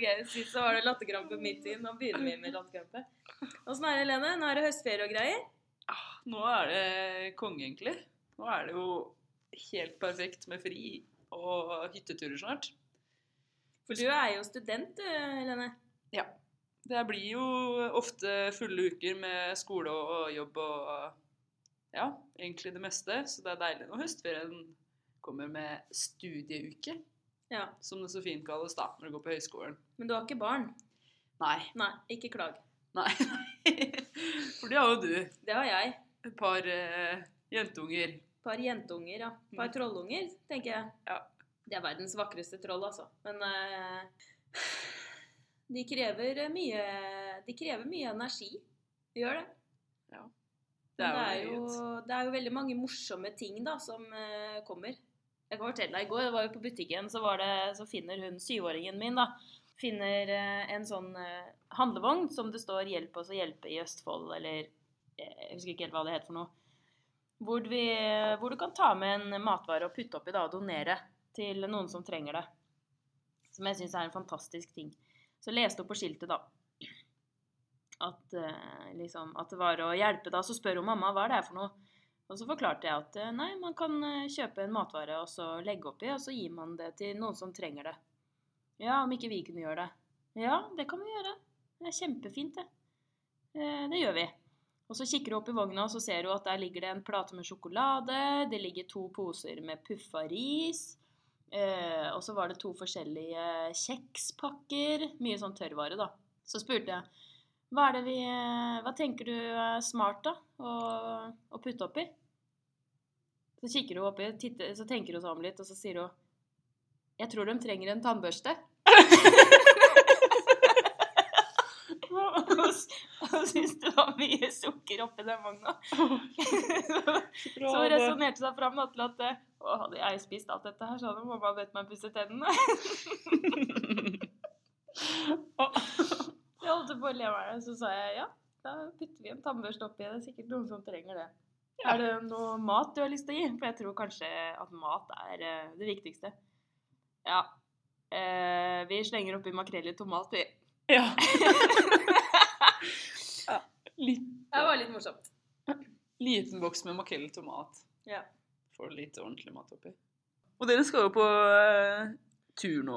Eh, Sist så var det latterkrampe midt i, nå begynner vi med latterkrampe. Åssen er det, Helene? Nå er det høstferie og greier. Ah, Nå er det konge, egentlig. Nå er det jo helt perfekt med fri og hytteturer snart. For du er jo student, du, Helene. Ja. Det blir jo ofte fulle uker med skole og jobb og ja, egentlig det meste. Så det er deilig når høstferien kommer med studieuke, Ja. som det så fint kalles da, når du går på høyskolen. Men du har ikke barn. Nei. Nei, ikke klag. Nei. For det har jo du. Det har jeg. Et par eh, jentunger. Par jentunger, ja. Par Mm. trollunger, tenker jeg. Ja. De er verdens vakreste troll, altså. Men eh, de krever mye De krever mye energi. De gjør det. Det Men er jo det, litt- er jo, det er jo veldig mange morsomme ting da, som eh, kommer. Jeg kan fortelle deg, I går jeg var jo på butikken, så, var det, så finner hun syvåringen min da, finner eh, en sånn eh, handlevogn som det står 'Hjelp oss å hjelpe' i Østfold, eller eh, jeg husker ikke helt hva det het for noe. Hvor, vi, hvor du kan ta med en matvare og putte oppi da, og donere til noen som trenger det. Som jeg syns er en fantastisk ting. Så leste hun på skiltet, da at, eh, liksom, at det var å hjelpe da, så spør hun mamma hva er det er for noe. Og så forklarte jeg at eh, nei, man kan eh, kjøpe en matvare og så legge oppi, og så gir man det til noen som trenger det. Ja, om ikke vi kunne gjøre det. Ja, det kan vi gjøre. Det er kjempefint, det. Eh, Det gjør vi. Og så kikker hun opp i vogna, og så ser hun at der ligger det en plate med sjokolade, det ligger to poser med puffa ris, eh, og så var det to forskjellige kjekspakker, mye sånn tørrvare, da. Så spurte jeg hva, er det vi, eh, hva tenker du er smart da, å, å putte oppi? Så kikker hun oppi, titter, så tenker hun seg om litt, og så sier hun Jeg tror de trenger en tannbørste. Hun syntes det var mye sukker oppi den vogna. Så hun resonnerte seg fram da, til at eh, å, hadde jeg spist alt dette her, så hadde mamma bedt meg pusse tennene. Jeg holdt på å le meg, så sa jeg ja, da putter vi en tannbørste oppi. Det er sikkert noen som trenger det. Ja. Er det noe mat du har lyst til å gi? For jeg tror kanskje at mat er eh, det viktigste. Ja. Eh, vi slenger oppi makrell i tomat, vi. Ja. det Litt, var litt morsomt. liten boks med makrell i tomat. Ja. Får litt ordentlig mat oppi. Og dere skal jo på eh, tur nå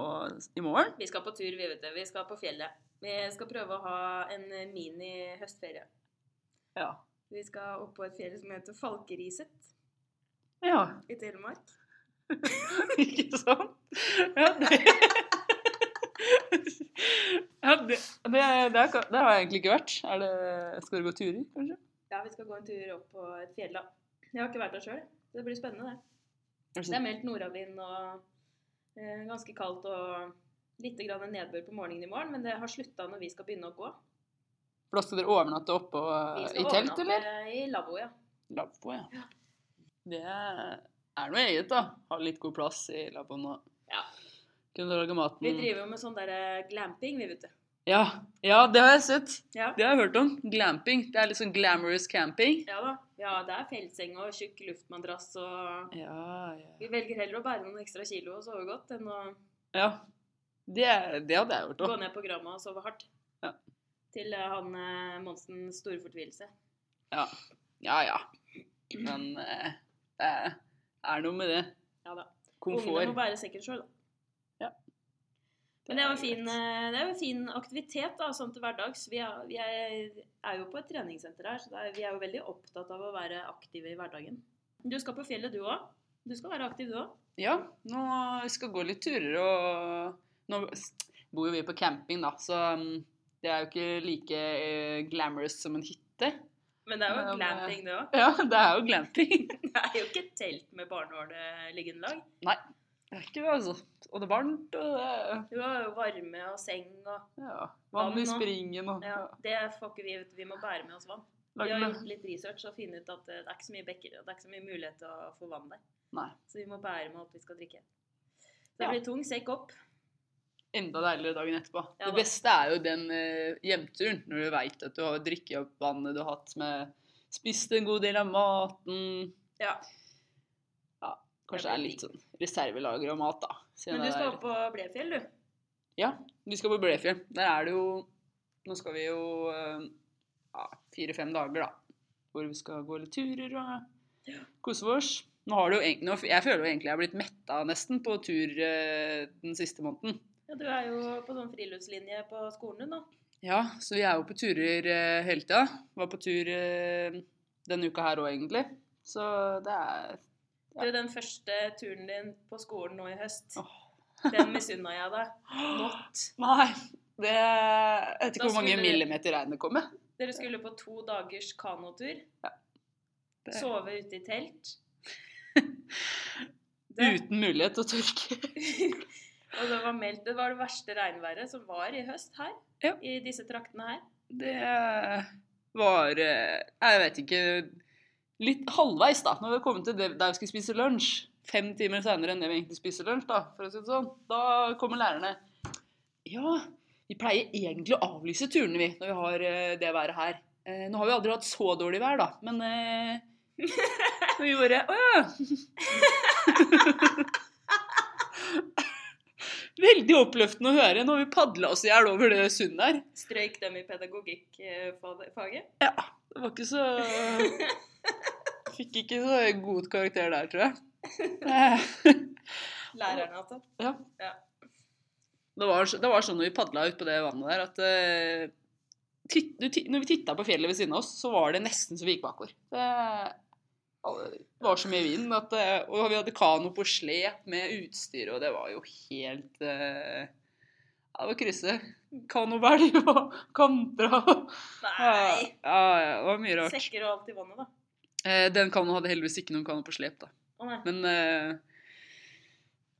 i morgen. Vi skal på tur, vi, vet du. Vi skal på fjellet. Vi skal prøve å ha en mini-høstferie. Ja. Vi skal opp på et fjell som heter Falkeriset Ja, i Telemark. ikke sant? Ja, det ja, det, det, det, er, det har jeg egentlig ikke vært. Er det, skal dere gå turer, kanskje? Ja, vi skal gå en tur opp på et fjell, da. Jeg har ikke vært der sjøl. Det blir spennende, det. Er Det det er sånn- meldt nordavind og eh, ganske kaldt og litt grann nedbør på morgenen i morgen, men det har slutta når vi skal begynne å gå. For da skal dere overnatte oppe Vi og- skal Eh, i telt, overnatte eller? I lavvo, ja. Lavvo, ja. Det er noe eget, da. Ha litt god plass i lavvoen og Ja. kunne lage maten. Vi driver jo med sånn der eh, glamping, vi, vet du. Ja. ja, det har jeg sett. Ja. Det har jeg hørt om. Glamping. Det er litt sånn glamorous camping. ja da. Ja, det er feltseng og tjukk luftmadrass og Ja, ja. Vi velger heller å bære noen ekstra kilo og sove godt enn å ja. Det, er- det hadde jeg hørt gå om. ned på gramma og sove hardt. Ja. Til eh, han eh, Monsens store fortvilelse. Ja, ja. ja. Men eh, det er noe med det. Ja da. Ungene må Komfort. bære sekken sjøl, da. Ja. Men det er, jo Det er fin, greit. eh, det er jo en fin aktivitet da, sånn til hverdags. Vi er, vi er, er jo på et treningssenter her, så det er, vi er jo veldig opptatt av å være aktive i hverdagen. Du skal på fjellet, du òg. Du skal være aktiv, du òg. Ja, nå skal vi gå litt turer og Nå bor jo vi på camping, da, så mm, det er jo ikke like eh, glamorous som en hytte. Men det er jo Ja, men- glamping, det òg. Ja, det er jo glamping. Det er jo ikke et telt med barnevernliggendelag. Det er ikke det, altså. Og det er varmt, og det er Du har jo varme og seng og ja, vann Vann i og- springen og Ja, det får ikke vi. vet du. Vi må bære med oss vann. Vi Lage har med- gjort litt research og funnet ut at eh, det er ikke så mye bekker og det er ikke så mye mulighet til å få vann der. Nei. Så vi må bære med alt vi skal drikke. Så det Ja. blir tung sekk opp. Enda deiligere dagen etterpå. Ja det da. beste er jo den eh, hjemturen, når du veit at du har drukket opp vannet du har hatt med Spist en god del av maten. Ja. Kanskje det er litt sånn reservelager av mat, da. siden Men du det skal er- opp på Blefjell, du. Ja, vi skal på Blefjell. Der er det jo Nå skal vi jo eh, ja, fire-fem dager, da. Hvor vi skal gå litt turer og kose oss. Nå har det jo egentlig, nå, jeg føler jo egentlig jeg har blitt metta nesten på tur eh, den siste måneden. Ja, du er jo på sånn friluftslinje på skolen din, da. Ja, så vi er jo på turer eh, hele tida. Var på tur eh, denne uka her òg, egentlig. Så det er Ja. Du, den første turen din på skolen nå i høst, Åh. den misunna jeg deg. Not. Nei, det Jeg vet Da ikke hvor mange skulle- millimeter regnet kom med. Dere skulle på to dagers kanotur. Det- Sove ute i telt. Det- Uten mulighet til å tørke. og det var meldt Det var det verste regnværet som var i høst her. Ja. I disse traktene her. Det var eh, Jeg vet ikke Litt halvveis, da. Når vi kom til det, der vi skulle spise lunsj. Fem timer senere enn det vi egentlig spiser lunsj, da. For å si det sånn. Da kommer lærerne. Ja, vi pleier egentlig å avlyse turene, vi, når vi har eh, det været her. Eh, Nå har vi aldri hatt så dårlig vær, da, men eh, Så vi bare Å ja. Veldig oppløftende å høre. Nå har vi padla oss i hjel over det sundet her. Strøyk dem i pedagogikkfaget. Ja, det var ikke så Fikk ikke så god karakter der, tror jeg. Eh, Lærerne, altså. Ja. Ja. Det var, så- det var sånn når vi padla utpå det vannet der, at eh, titt, du, titt- Når vi titta på fjellet ved siden av oss, så var det nesten så vi gikk bakover. Det det var så mye vind. At, eh, og vi hadde kano på slep med utstyr, og det var jo helt eh, Ja, det var krysse. Kanobelg og kanter og Nei! Ja, ja, det var mye rart. Sekker og alt i vannet, da. Eh, den kanoen hadde heldigvis ikke noen kano på slep, da. Å nei. Men eh,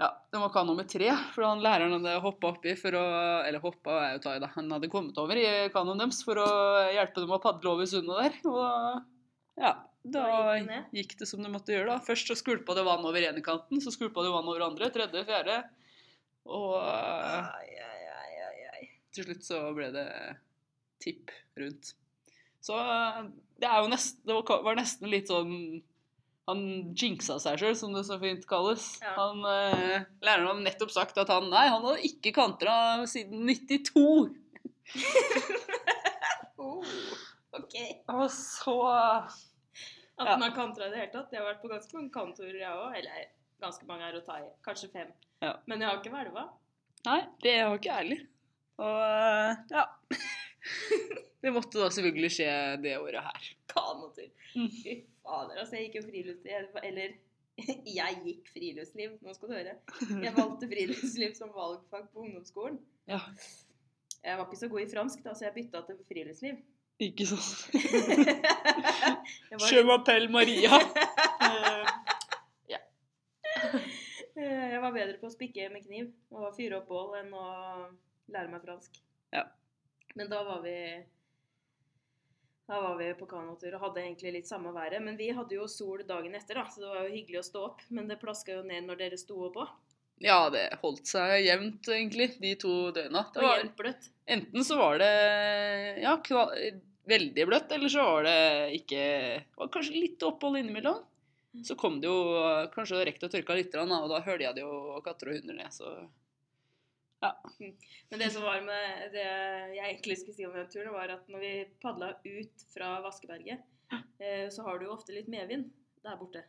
ja, den var kano med tre, for han læreren hadde hoppa oppi for å Eller hoppa er jo å ta i, da. Han hadde kommet over i kanoen deres for å hjelpe dem å padle over sundet der. Og ja, da Da gikk det ned? gikk det som det måtte gjøre, da. Først så skvulpa det vann over ene kanten, så skvulpa det vann over andre, tredje, fjerde. Og eh, Ai, ai, ai, ai, ai. til slutt så ble det tipp rundt. Så eh, det, er jo nest, det var ka- var nesten litt sånn Han jinxa seg sjøl, som det så fint kalles. Ja. Han, eh, læreren hadde nettopp sagt at han nei, han hadde ikke kantra siden 92. Oh, OK. Han var så At Ja. man har kantra i det hele tatt. Jeg har vært på ganske mange kantorer, jeg òg. Eller ganske mange her å ta i. Kanskje fem. Ja. Men jeg har ikke hvelva. Nei, det var ikke ærlig. Og eh, ja. Det måtte da selvfølgelig skje det året her. Kanotur. Mm. Fy fader, altså. Jeg gikk jo friluftsliv Eller jeg gikk friluftsliv, nå skal du høre. Jeg valgte friluftsliv som valgfag på ungdomsskolen. Ja, Jeg var ikke så god i fransk, da, så jeg bytta til friluftsliv. ikke sånn. Jeg var- Je m'appelle Maria. Eh, Eh, Jeg var bedre på å spikke med kniv og fyre opp bål enn å lære meg fransk. Ja. Men da var vi da var vi på kanotur og hadde egentlig litt samme været. Men vi hadde jo sol dagen etter, da, så det var jo hyggelig å stå opp. Men det plaska jo ned når dere sto opp òg. Ja, det holdt seg jevnt, egentlig, de to døgna. Det Og var, jevnt bløtt. enten så var det ja, kva, veldig bløtt, eller så var det ikke det var Kanskje litt opphold innimellom. Mm. Så kom det jo kanskje rekt og tørka litt, grann, da, og da hølja det jo katter og hunder ned, så Men det som var med det jeg egentlig skulle si om den turen, var at når vi padla ut fra Vaskeberget, eh, så har du jo ofte litt medvind der borte.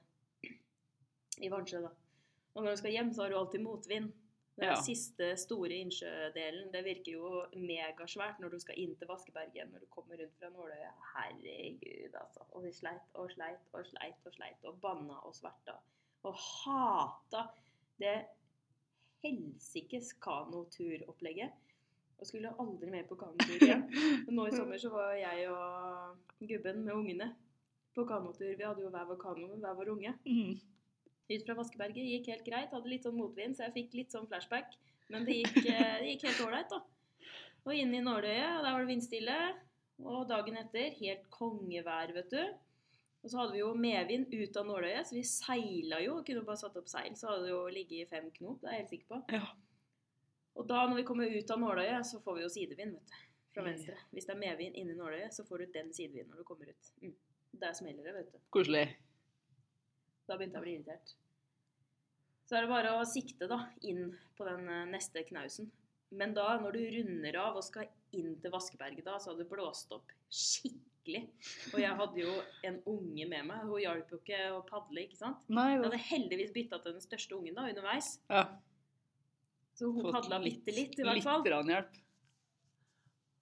I Varnsjø, da. Og når du skal hjem, så har du alltid motvind. Den Ja. siste store innsjødelen, det virker jo megasvært når du skal inn til Vaskeberget, når du kommer rundt fra Nåløya. Herregud, altså. Og vi sleit og sleit og sleit og sleit og banna og sverta og hata det helsikes kanoturopplegget. Og skulle aldri mer på kanotur igjen. Men nå i sommer så var jeg og gubben med ungene på kanotur. Vi hadde jo hver vår kano med hver vår unge. Ut fra Vaskeberget gikk helt greit. Hadde litt sånn motvind, så jeg fikk litt sånn flashback. Men det gikk, eh, det gikk helt ålreit, da. Og inn i Nåløyet, og der var det vindstille. Og dagen etter helt kongevær, vet du. Og så hadde vi jo medvind ut av Nåløyet, så vi seila jo. Kunne bare satt opp seil, så hadde det jo ligget i fem knop. Det er jeg helt sikker på. Ja. Og da, når vi kommer ut av Nåløyet, så får vi jo sidevind, vet du. Fra Ja. venstre. Hvis det er medvind inni Nåløyet, så får du den sidevinden når du kommer ut. Mm. Der smeller det, vet du. koselig. Da begynte jeg å bli irritert. Så er det bare å sikte da, inn på den eh, neste knausen. Men da, når du runder av og skal inn til Vaskeberget, da, så hadde det blåst opp skikkelig. Og jeg hadde jo en unge med meg. Hun hjalp jo ikke å padle, ikke sant. Nei Jeg da. hadde heldigvis bytta til den største ungen da, underveis. Ja, Så hun fått padla litt- bitte litt, i hvert fall. Litt grann hjelp.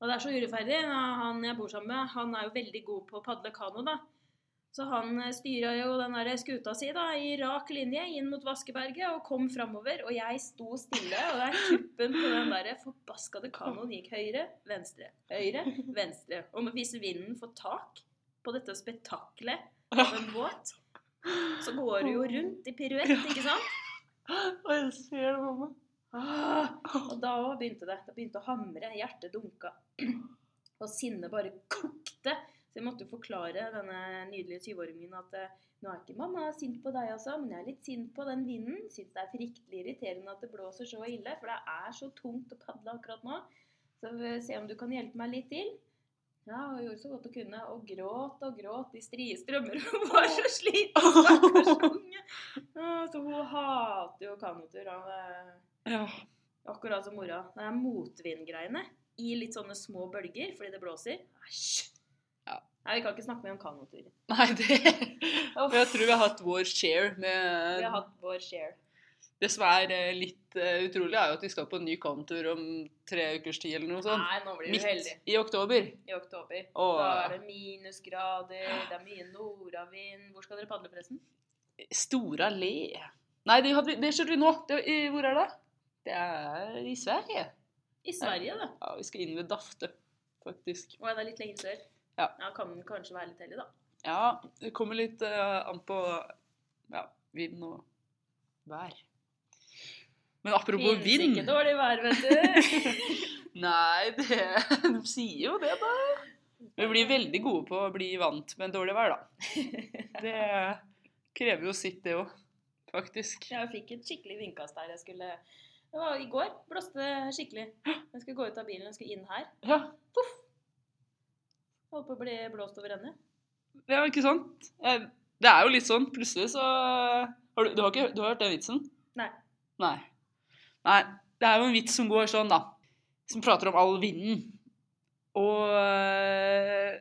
Og det er så urettferdig. Han jeg bor sammen med, han er jo veldig god på å padle kano, da. Så han eh, styra jo den der skuta si da, i rak linje inn mot Vaskeberget og kom framover. Og jeg sto stille, og der tuppen på den der forbaskede kanoen gikk høyre, venstre, høyre, venstre. Og må vise vinden får tak på dette spetakkelet av en båt. Så går du jo rundt i piruett, ikke sant? Og jeg ser det på meg. Ah! Og da òg begynte det. Det begynte å hamre. Hjertet dunka. Og sinnet bare kokte. Så jeg måtte jo forklare denne nydelige 20-åringen min at eh, nå er ikke mamma sint på deg, altså, men jeg er litt sint på den vinden. Syns det er fryktelig irriterende at det blåser så ille, for det er så tungt å padle akkurat nå. Så eh, se om du kan hjelpe meg litt til. Ja, og gjorde så godt hun kunne. Og gråt og gråt i strie strømmer. Hun var så sliten, stakkars unge. Ja, Så hun hater jo kanotur. og, eh, Ja. Akkurat som mora. Det er motvindgreiene i litt sånne små bølger fordi det blåser. Æsj! Ja. Nei, vi kan ikke snakke mer om kanotur. Nei, det Jeg tror vi har hatt vår share med Vi har hatt vår share. Det som er eh, litt eh, utrolig, er jo at vi skal på en ny kanotur om tre ukers tid eller noe sånt. Nei, nå blir du heldig sånn Midt i oktober. i oktober. Åh. Da er det minusgrader, det er mye nordavind. Hvor skal dere padle, forresten? Store allé. Nei, det, hadde vi, det kjørte vi nå. Det, i, hvor er det? Det er i Sverige. I Sverige, da. Ja, vi skal inn ved Dafte, faktisk. Og det er litt lenger sør. Ja. Kan kanskje være litt heldig, da. Ja, det kommer litt eh, an på ja, vind og vær. Men apropos Finnes vind ikke dårlig vær, vet du. Nei, det, de sier jo det, da. Vi blir veldig gode på å bli vant med dårlig vær, da. Det krever jo sitt, det òg, faktisk. Jeg fikk et skikkelig vindkast her. Jeg skulle Det var i går. Blåste det skikkelig. Jeg skulle gå ut av bilen, jeg skulle inn her. Ja, Holdt på å bli blåst over ende. det er jo ikke sant? Eh, Det er jo litt sånn. Plutselig så har du, du, har ikke, du har hørt den vitsen? Nei. Nei. Nei. Det er jo en vits som går sånn, da. Som prater om all vinden. Og eh,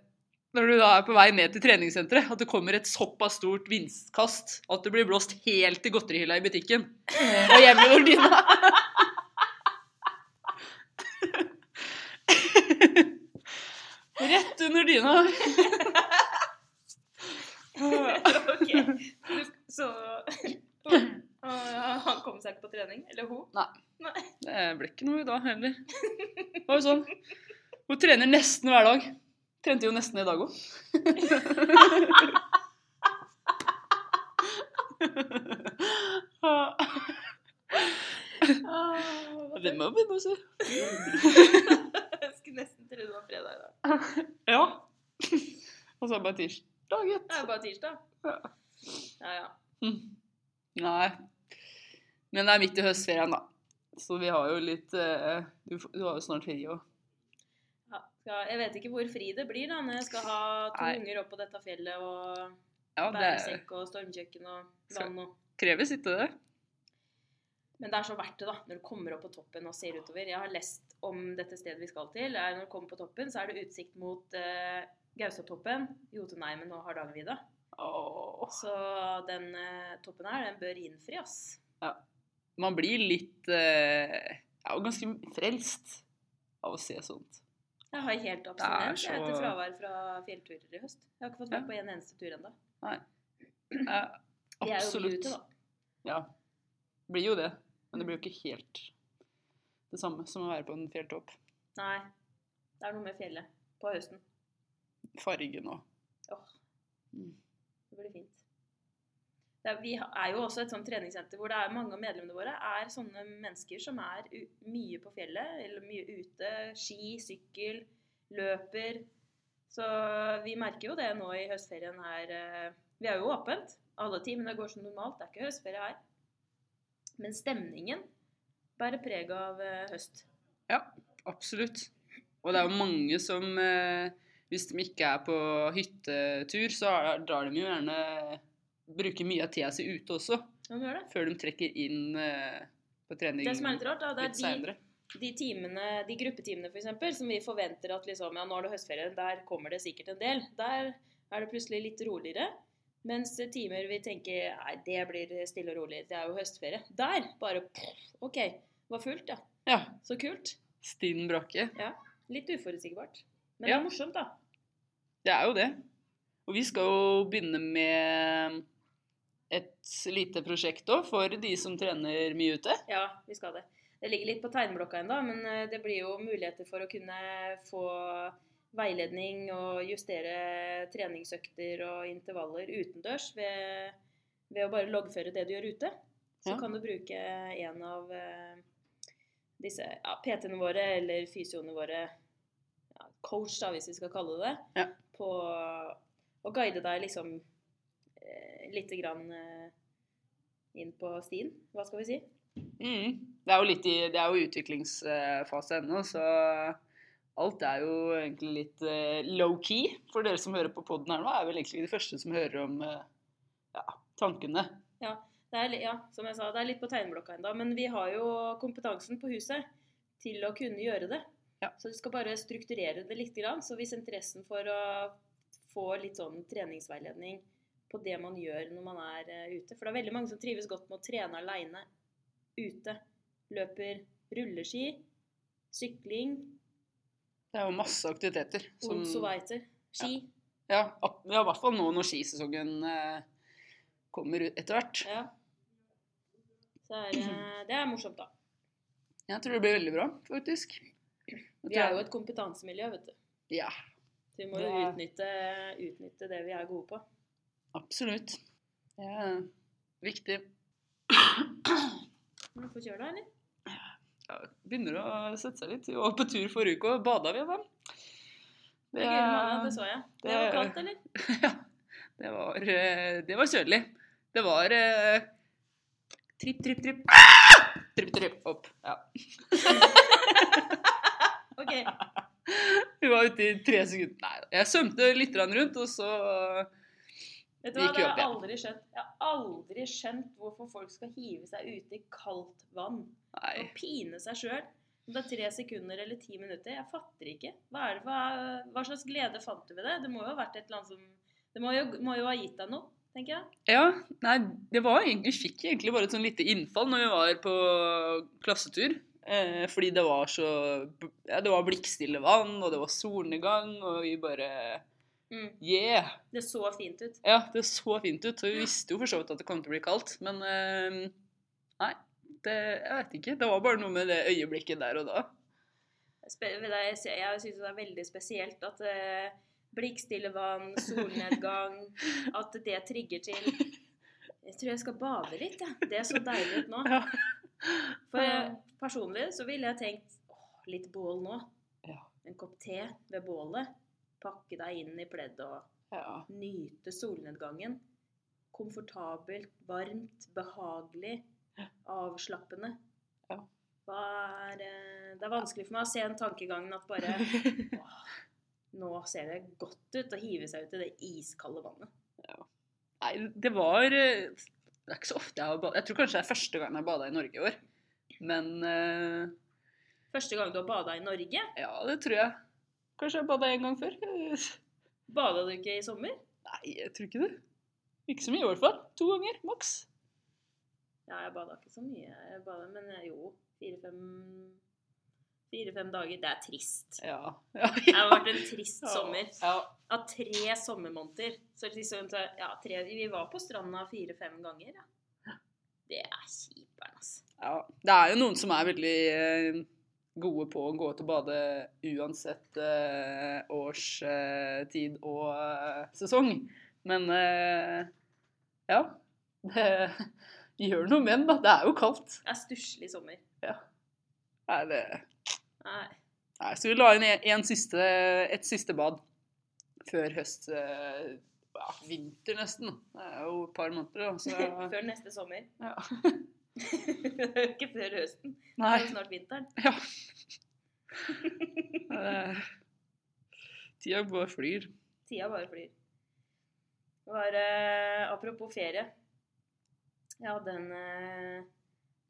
når du da er på vei ned til treningssenteret, at det kommer et såpass stort vindkast at du blir blåst helt til godterihylla i butikken. Og hjemme i Nordina. Rett under dyna. ok. Så Ah, Han kom seg ikke på trening? Eller hun? Det ble ikke noe i dag heller. Det var jo sånn. Hun trener nesten hver dag. Trente jo nesten i dag òg. Ah, Det må jeg begynne å si. Jeg skulle nesten tro det var fredag i dag. Ja. Og så er det bare tirsdag, gitt. Det er jo bare tirsdag. Ja. Ja, ja. Mm. Nei. Men det er midt i høstferien, da. Så vi har jo litt eh, Du, f- du har jo snart ferie òg. Ja, skal- Jeg vet ikke hvor fri det blir da, når jeg skal ha to Nei. unger opp på dette fjellet og Ja, det bæresekk og stormkjøkken og Skal- vann og kreves ikke det? Men det er så verdt det, da, når du kommer opp på toppen og ser utover. Jeg har lest om dette stedet vi skal til. Det er Når du kommer på toppen, så er det utsikt mot eh, Gaustatoppen, Jotunheimen og Hardangervidda. Åh. Så den eh, toppen her, den bør innfri, ass. Man blir litt eh, Ja, ganske frelst av å se sånt. Jeg har helt abstinens så- jeg, etter fravær fra fjellturer i høst. Jeg har ikke fått Ja. vært på en eneste tur ennå. Ja, Vi er jo absolutt. ute, da. Ja. Blir jo det. Men det blir jo ikke helt det samme som å være på en fjelltopp. Nei. Det er noe med fjellet på høsten. Fargen og Åh, Mm. det blir fint. Det er, vi ha- er jo også et sånt treningssenter hvor det er mange av medlemmene våre er sånne mennesker som er u mye på fjellet, eller mye ute. Ski, sykkel, løper. Så vi merker jo det nå i høstferien her. eh, Vi er jo åpent alle timene går som normalt. Det er ikke høstferie her. Men stemningen bærer preg av eh, høst. Absolutt. Og det er jo mange som eh, Hvis de ikke er på hyttetur, så er- drar de jo gjerne Bruker mye av tida si ute også, Hva gjør det? før de trekker inn eh, på trening Det som er litt rart, da, det er litt de seinere. de timene, de gruppetimene f.eks., som vi forventer at liksom, ja, nå er det høstferie, der kommer det sikkert en del. Der er det plutselig litt roligere. Mens timer vi tenker nei, det blir stille og rolig, det er jo høstferie. Der bare pff, OK, var fullt, ja. Ja. Så kult. Stinen Brakke. Litt uforutsigbart. Men det Ja. er morsomt, da. Det er jo det. Og vi skal jo begynne med et lite prosjekt òg, for de som trener mye ute. Ja, vi skal det. Det ligger litt på tegneblokka ennå, men eh, det blir jo muligheter for å kunne få veiledning og justere treningsøkter og intervaller utendørs ved, ved å bare loggføre det du gjør ute. Så Ja. kan du bruke en av eh, disse ja, PT-ene våre eller fysioene våre, ja, coach da, hvis vi skal kalle det det, Ja. på å guide deg liksom eh, lite grann eh, inn på stien, hva skal vi si? Mm. Det er jo litt i det er jo utviklingsfase ennå, så alt er jo egentlig litt eh, low-key. For dere som hører på poden her nå, er vel egentlig de første som hører om eh, ja, tankene. Det er, li- ja, som jeg sa, det er litt på tegneblokka ennå, men vi har jo kompetansen på huset til å kunne gjøre det. Ja. Så du skal bare strukturere det litt. Grann. Så hvis interessen for å få litt sånn treningsveiledning på det man gjør når man er eh, ute For det er veldig mange som trives godt med å trene aleine ute. Løper rulleski, sykling, Det er jo masse aktiviteter. som- onsoveiter, ski. ja, ab- ja, i hvert fall nå når skisesongen eh, kommer ut etter hvert. Ja. Så er, eh, det- det er morsomt, da. Jeg tror det blir veldig bra, faktisk. Vi er jo et kompetansemiljø, vet du. Ja, Så vi må jo Det er- utnytte, utnytte det vi er gode på. absolutt. Det er viktig. Må du forkjøle deg, eller? Ja, begynner å sette seg litt. Vi var på tur forrige uke og bada vi, da. Det, er... gøy, det så jeg. altså. Det var det- kaldt, eller? Ja, det var, eh, det var kjølig. Det var eh, tripp, tripp, tripp. Ah! Tripp, tripp, opp. Ja. Ok. Vi var ute i tre sekunder. Nei, jeg svømte litt grann rundt, og så eh, Vet du Det hva, gikk det jo har opp jeg igjen. aldri skjønt. Jeg har aldri skjønt hvorfor folk skal hive seg ute i kaldt vann Nei. og pine seg sjøl. Om det er tre sekunder eller ti minutter, jeg fatter ikke. Hva, er det, hva, hva slags glede fant du ved det? Det må jo ha vært et eller annet som Det må jo, må jo ha gitt deg noe, tenker jeg. Ja, nei, det var egentlig, vi fikk egentlig bare et sånn lite innfall når vi var på klassetur. Eh, fordi det var så ja, Det var blikkstille vann, og det var solnedgang, og vi bare Mm. Yeah! Det så fint ut. Ja, det så fint ut. Og vi visste jo for så vidt at det kom til å bli kaldt, men eh, Nei, det, jeg vet ikke. Det var bare noe med det øyeblikket der og da. Spe- det er- Jeg syns det er veldig spesielt at eh, blikkstille vann, solnedgang At det trigger til Jeg tror jeg skal bade litt, jeg. Det er så deilig ut nå. Ja. For eh, personlig så ville jeg tenkt åh, litt bål nå. Ja. En kopp te ved bålet. Pakke deg inn i pleddet og ja. nyte solnedgangen. Komfortabelt, varmt, behagelig, avslappende. Ja. Hva er, eh, det er vanskelig for meg å se den tankegangen at bare Åh, Nå ser det godt ut å hive seg ut i det iskalde vannet. Nei, det var eh, Det er ikke så ofte jeg har badet. Jeg tror kanskje det er første gang jeg har bada i Norge i år. Men eh, Første gang du har bada i Norge? Ja, det tror jeg. Kanskje jeg bada en gang før? Nei, Bada du ikke i sommer? jeg tror ikke det. Ikke så mye i hvert fall. To ganger, maks. Ja, jeg bada ikke så mye. Jeg bada, men eh, jo, fire-fem Fire-fem dager. Det er trist. Ja. ja, Det har vært en trist Ja. sommer. Ja. Av tre sommermåneder. Så liksom, så- ja, tre, vi var på stranda fire-fem ganger. Ja. Det er kjiperen, altså. ja. Det er jo noen som er veldig eh, gode på å gå ut og bade uansett eh, årstid og eh, sesong. Men eh, ja. Det gjør noe med en, da. Det er jo kaldt. Det er stusslig sommer. Nei, det... Nei. Nei, så vi la inn en, en siste, et siste bad før høst eh, ja, Vinter, nesten. Det er jo et par måneder, da. Så, Før neste sommer. ja. ikke før høsten. Det Nei. er jo snart vinteren. Ja. Eh, Tida bare flyr. Tida bare flyr. Det var eh, Apropos ferie. Jeg hadde en eh,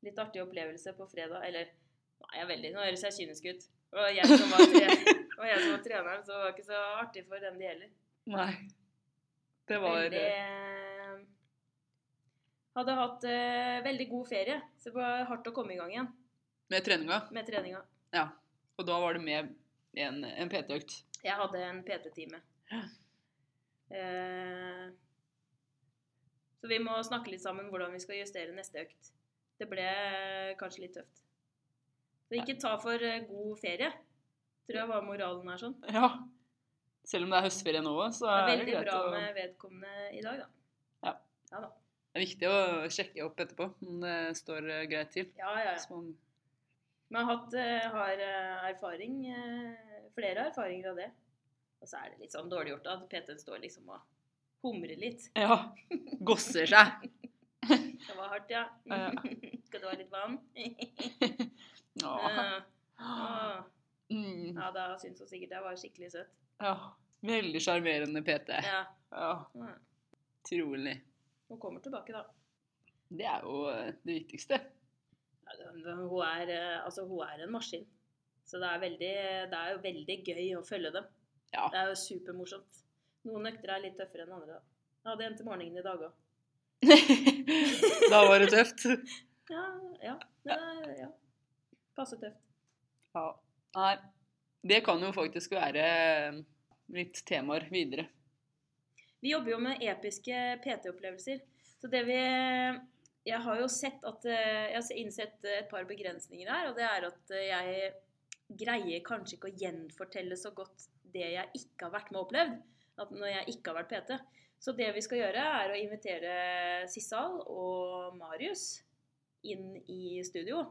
litt artig opplevelse på fredag. Eller Nei, jeg er veldig, Nå høres jeg kynisk ut. Og jeg som var, tre, og jeg som var treneren, så det var ikke så artig for dem det gjelder. Nei. Det var Veldig, eh, hadde hatt eh, veldig god ferie, så det var hardt å komme i gang igjen med treninga. med treninga. Ja. Og da var det med en, en PT-økt. Jeg hadde en PT-time. Ja. Eh, så vi må snakke litt sammen hvordan vi skal justere neste økt. Det ble eh, kanskje litt tøft. Så ikke ta for eh, god ferie, tror jeg var moralen her sånn. Ja. Selv om det er høstferie nå òg, så Det er er det veldig greit bra å med vedkommende i dag, da. Ja. Ja da. Det er viktig å sjekke opp etterpå om det står eh, greit til. Ja, ja, ja. Hvis man Men jeg har, hatt, eh, har eh, erfaring, eh, flere erfaringer av det. Og så er det litt sånn dårlig gjort at PT-en står liksom og humrer litt. ja, gosser seg. Det var hardt, ja. Ja, Skal du ha litt vann? Ja. Ah, ah. Mm. Ja, da syns hun sikkert jeg var skikkelig søt. ja. Veldig sjarmerende PT. Ja. Ja, Mm. Trolig. Hun kommer tilbake, da. Det er jo eh, det viktigste. Ja, det- det- Hun er, eh, altså, hun er en maskin. Så det er, veldig, det er jo veldig gøy å følge dem. Ja. Det er jo supermorsomt. Noen økter er litt tøffere enn andre. da. Jeg hadde en til morgenen i dag òg. da var det tøft. Ja, ja. Det, er- ja. Passe tøft. Ja. Nei. Det kan jo faktisk være litt temaer videre. Vi jobber jo med episke PT-opplevelser. Så det vi Jeg har jo sett at eh, Jeg har innsett et par begrensninger her, og det er at eh, jeg greier kanskje ikke å gjenfortelle så godt det jeg ikke har vært med og opplevd. At når jeg ikke har vært PT. Så det vi skal gjøre, er å invitere Sissal og Marius inn i studio.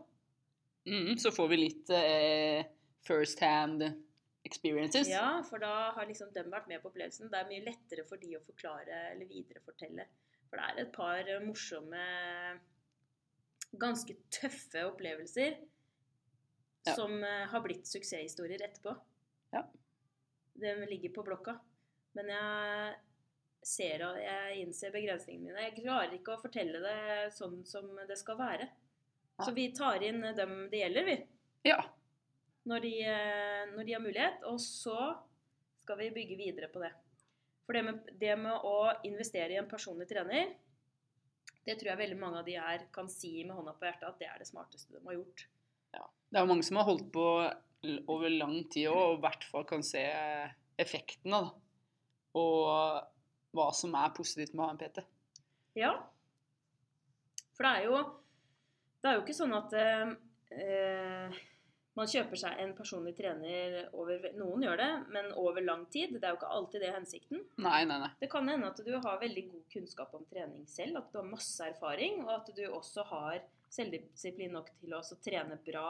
Mm, så får vi litt eh, first hand experiences. Ja, for da har liksom de vært med på opplevelsen. Det er mye lettere for de å forklare eller viderefortelle. For det er et par eh, morsomme, ganske tøffe opplevelser Ja. som eh, har blitt suksesshistorier etterpå. Ja. De ligger på blokka. Men jeg ser og jeg innser begrensningene mine. Jeg klarer ikke å fortelle det sånn som det skal være. Så vi tar inn dem det gjelder, vi Ja. når de, eh, når de har mulighet, og så skal vi bygge videre på det. For det med, det med å investere i en personlig trener, det tror jeg veldig mange av de her kan si med hånda på hjertet at det er det smarteste de har gjort. Det er jo mange som har holdt på l- over lang tid også, og i hvert fall kan se effekten av det. Og hva som er positivt med å ha en PT. Ja. For det er jo, det er jo ikke sånn at eh, eh, man kjøper seg en personlig trener over Noen gjør det, men over lang tid. Det er jo ikke alltid det er hensikten. Nei, nei, nei. Det kan hende at du har veldig god kunnskap om trening selv, at du har masse erfaring, og at du også har selvdisiplin nok til å også trene bra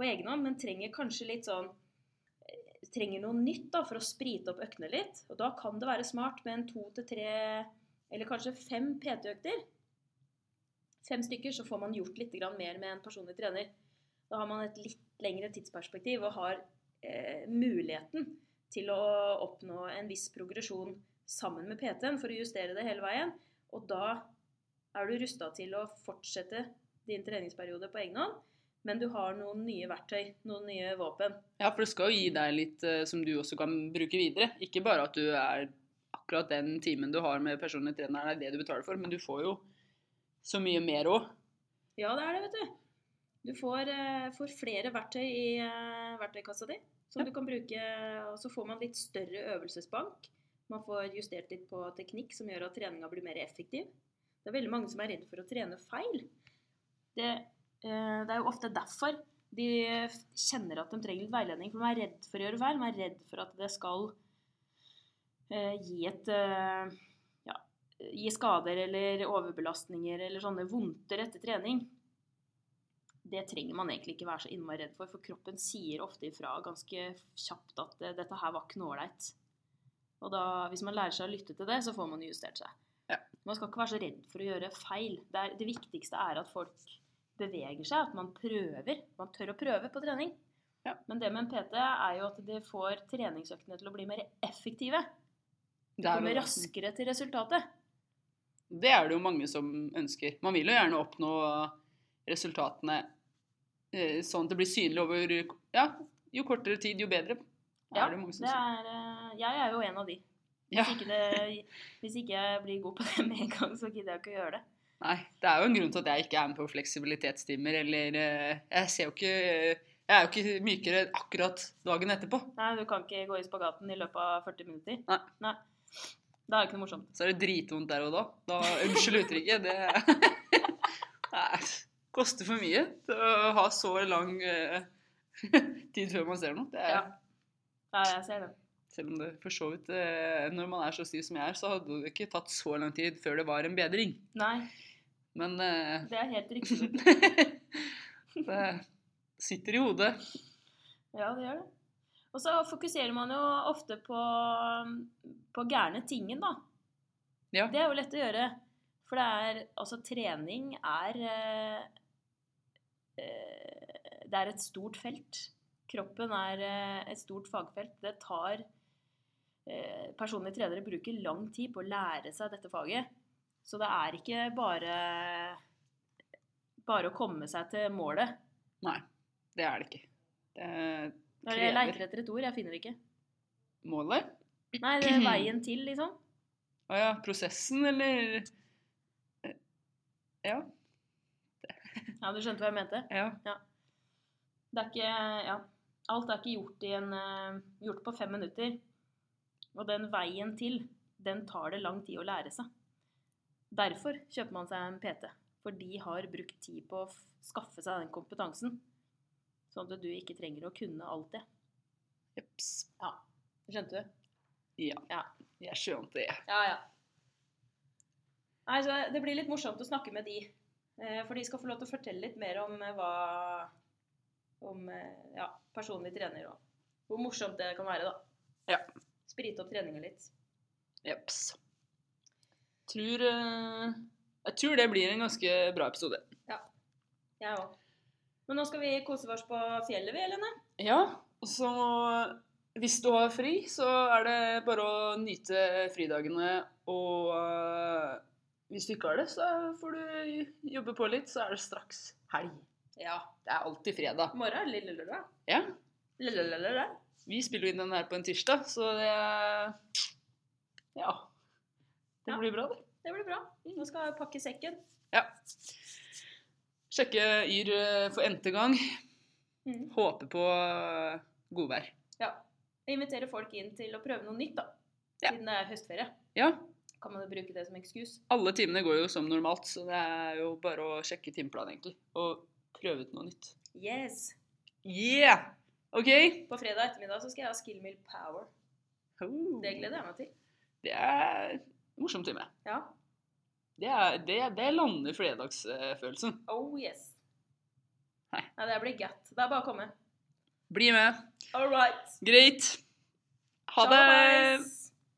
på egen hånd, men trenger kanskje litt sånn eh, Trenger noe nytt da, for å sprite opp øktene litt. Og da kan det være smart med en to til tre, eller kanskje fem PT-økter. Fem stykker, så får man gjort litt grann mer med en personlig trener. Da har man et litt lengre tidsperspektiv og har eh, muligheten til å oppnå en viss progresjon sammen med PT-en for å justere det hele veien. Og da er du rusta til å fortsette din treningsperiode på egen hånd, men du har noen nye verktøy, noen nye våpen. Ja, for det skal jo gi deg litt eh, som du også kan bruke videre. Ikke bare at du er akkurat den timen du har med personlig trener, det er det du betaler for, men du får jo så mye mer òg. Ja, det er det, vet du. Du får, eh, får flere verktøy i eh, verktøykassa di som Ja. du kan bruke. Og så får man litt større øvelsesbank. Man får justert litt på teknikk som gjør at treninga blir mer effektiv. Det er veldig mange som er redd for å trene feil. Det, eh, det er jo ofte derfor de f- kjenner at de trenger litt veiledning. For de er redd for å gjøre feil. De er redd for at det skal eh, gi et eh, gi skader eller overbelastninger eller sånne vondter etter trening. Det trenger man egentlig ikke være så innmari redd for, for kroppen sier ofte ifra ganske kjapt at eh, dette her var ikke noe ålreit. Og da, hvis man lærer seg å lytte til det, så får man justert seg. Ja. Man skal ikke være så redd for å gjøre feil. Det, er, det viktigste er at folk beveger seg, at man prøver. Man tør å prøve på trening. Ja. Men det med en PT er jo at det får treningsøktene til å bli mer effektive. Det er Komme jo- raskere til resultatet. Det er det jo mange som ønsker. Man vil jo gjerne oppnå resultatene eh, sånn at det blir synlig over Ja, jo kortere tid, jo bedre. Ja, er det mange som Det sier. er, eh, jeg er jo en av de. Ja. Hvis, ikke det, hvis ikke jeg blir god på det med en gang, så gidder jeg ikke å gjøre det. Nei, det er jo en grunn til at jeg ikke er med på fleksibilitetstimer, eller eh, Jeg ser jo ikke Jeg er jo ikke mykere akkurat dagen etterpå. Nei, du kan ikke gå i spagaten i løpet av 40 minutter. Nei. Da er det ikke noe morsomt. Så er det dritvondt der og da. da unnskyld uttrykket. Det Nei, koster for mye til å ha så lang eh, tid før man ser noe. Det er, Ja. Ja, jeg ser det. Selv om det for så vidt eh, Når man er så stiv som jeg er, så hadde det ikke tatt så lang tid før det var en bedring. Nei, Men eh, det er helt riktig. det sitter i hodet. Ja, det gjør det. Og så fokuserer man jo ofte på, på gærne tingen, da. Ja. Det er jo lett å gjøre. For det er Altså, trening er eh, eh, Det er et stort felt. Kroppen er eh, et stort fagfelt. Det tar eh, Personlige trenere bruker lang tid på å lære seg dette faget. Så det er ikke bare bare å komme seg til målet. Nei, det er det ikke. Det er Når jeg Krever. leiter etter et ord, jeg finner det ikke. målet. Nei, det er veien til, liksom. Å ja, prosessen, eller eh, Ja. Ja, du skjønte hva jeg mente. Ja. Det er ikke Ja. Alt er ikke gjort, i en, eh, gjort på fem minutter. Og den veien til, den tar det lang tid å lære seg. Derfor kjøper man seg en PT. For de har brukt tid på å f- skaffe seg den kompetansen. Sånn at du ikke trenger å kunne alt det. Jeps. Skjønte du? Ja. Ja. Jeg skjønte det. Ja, ja. Nei, så Det blir litt morsomt å snakke med de. eh, For de skal få lov til å fortelle litt mer om eh, hva Om eh, ja, personlig trener og hvor morsomt det kan være, da. Ja. Sprite opp treninga litt. Jeps. Tror, eh, jeg tror det blir en ganske bra episode. Jeg òg. Men nå skal vi kose oss på fjellet, vi, Helene. Ja, og så hvis du har fri, så er det bare å nyte fridagene. Og eh, hvis du ikke har det, så får du jobbe på litt, så er det straks helg. Ja. Det er alltid fredag. I morgen er det lille lørdag. Ja, Lille lørdag. vi spiller jo inn den her på en tirsdag, så det Ja. Det Ja. blir bra, det. Det blir bra. Nå skal jeg pakke sekken. Ja. Sjekke Yr eh, for n-te gang. Mm. Håpe på eh, godvær. Ja. Invitere folk inn til å prøve noe nytt, da. Ja. Siden det er høstferie. Ja, Kan man jo bruke det som ekskuse. alle timene går jo som normalt, så det er jo bare å sjekke timeplanen, egentlig. Og prøve ut noe nytt. Yes. Yeah! OK? På fredag ettermiddag så skal jeg ha Skill Mill Power. Oh, Mm, Det gleder jeg meg til. det er morsom time. Ja. Det, er, det, det lander fredagsfølelsen. Oh yes. Nei. Nei, det blir gatt. Det er bare å komme. Bli med. All right. Greit. Ha det! Tjallabais.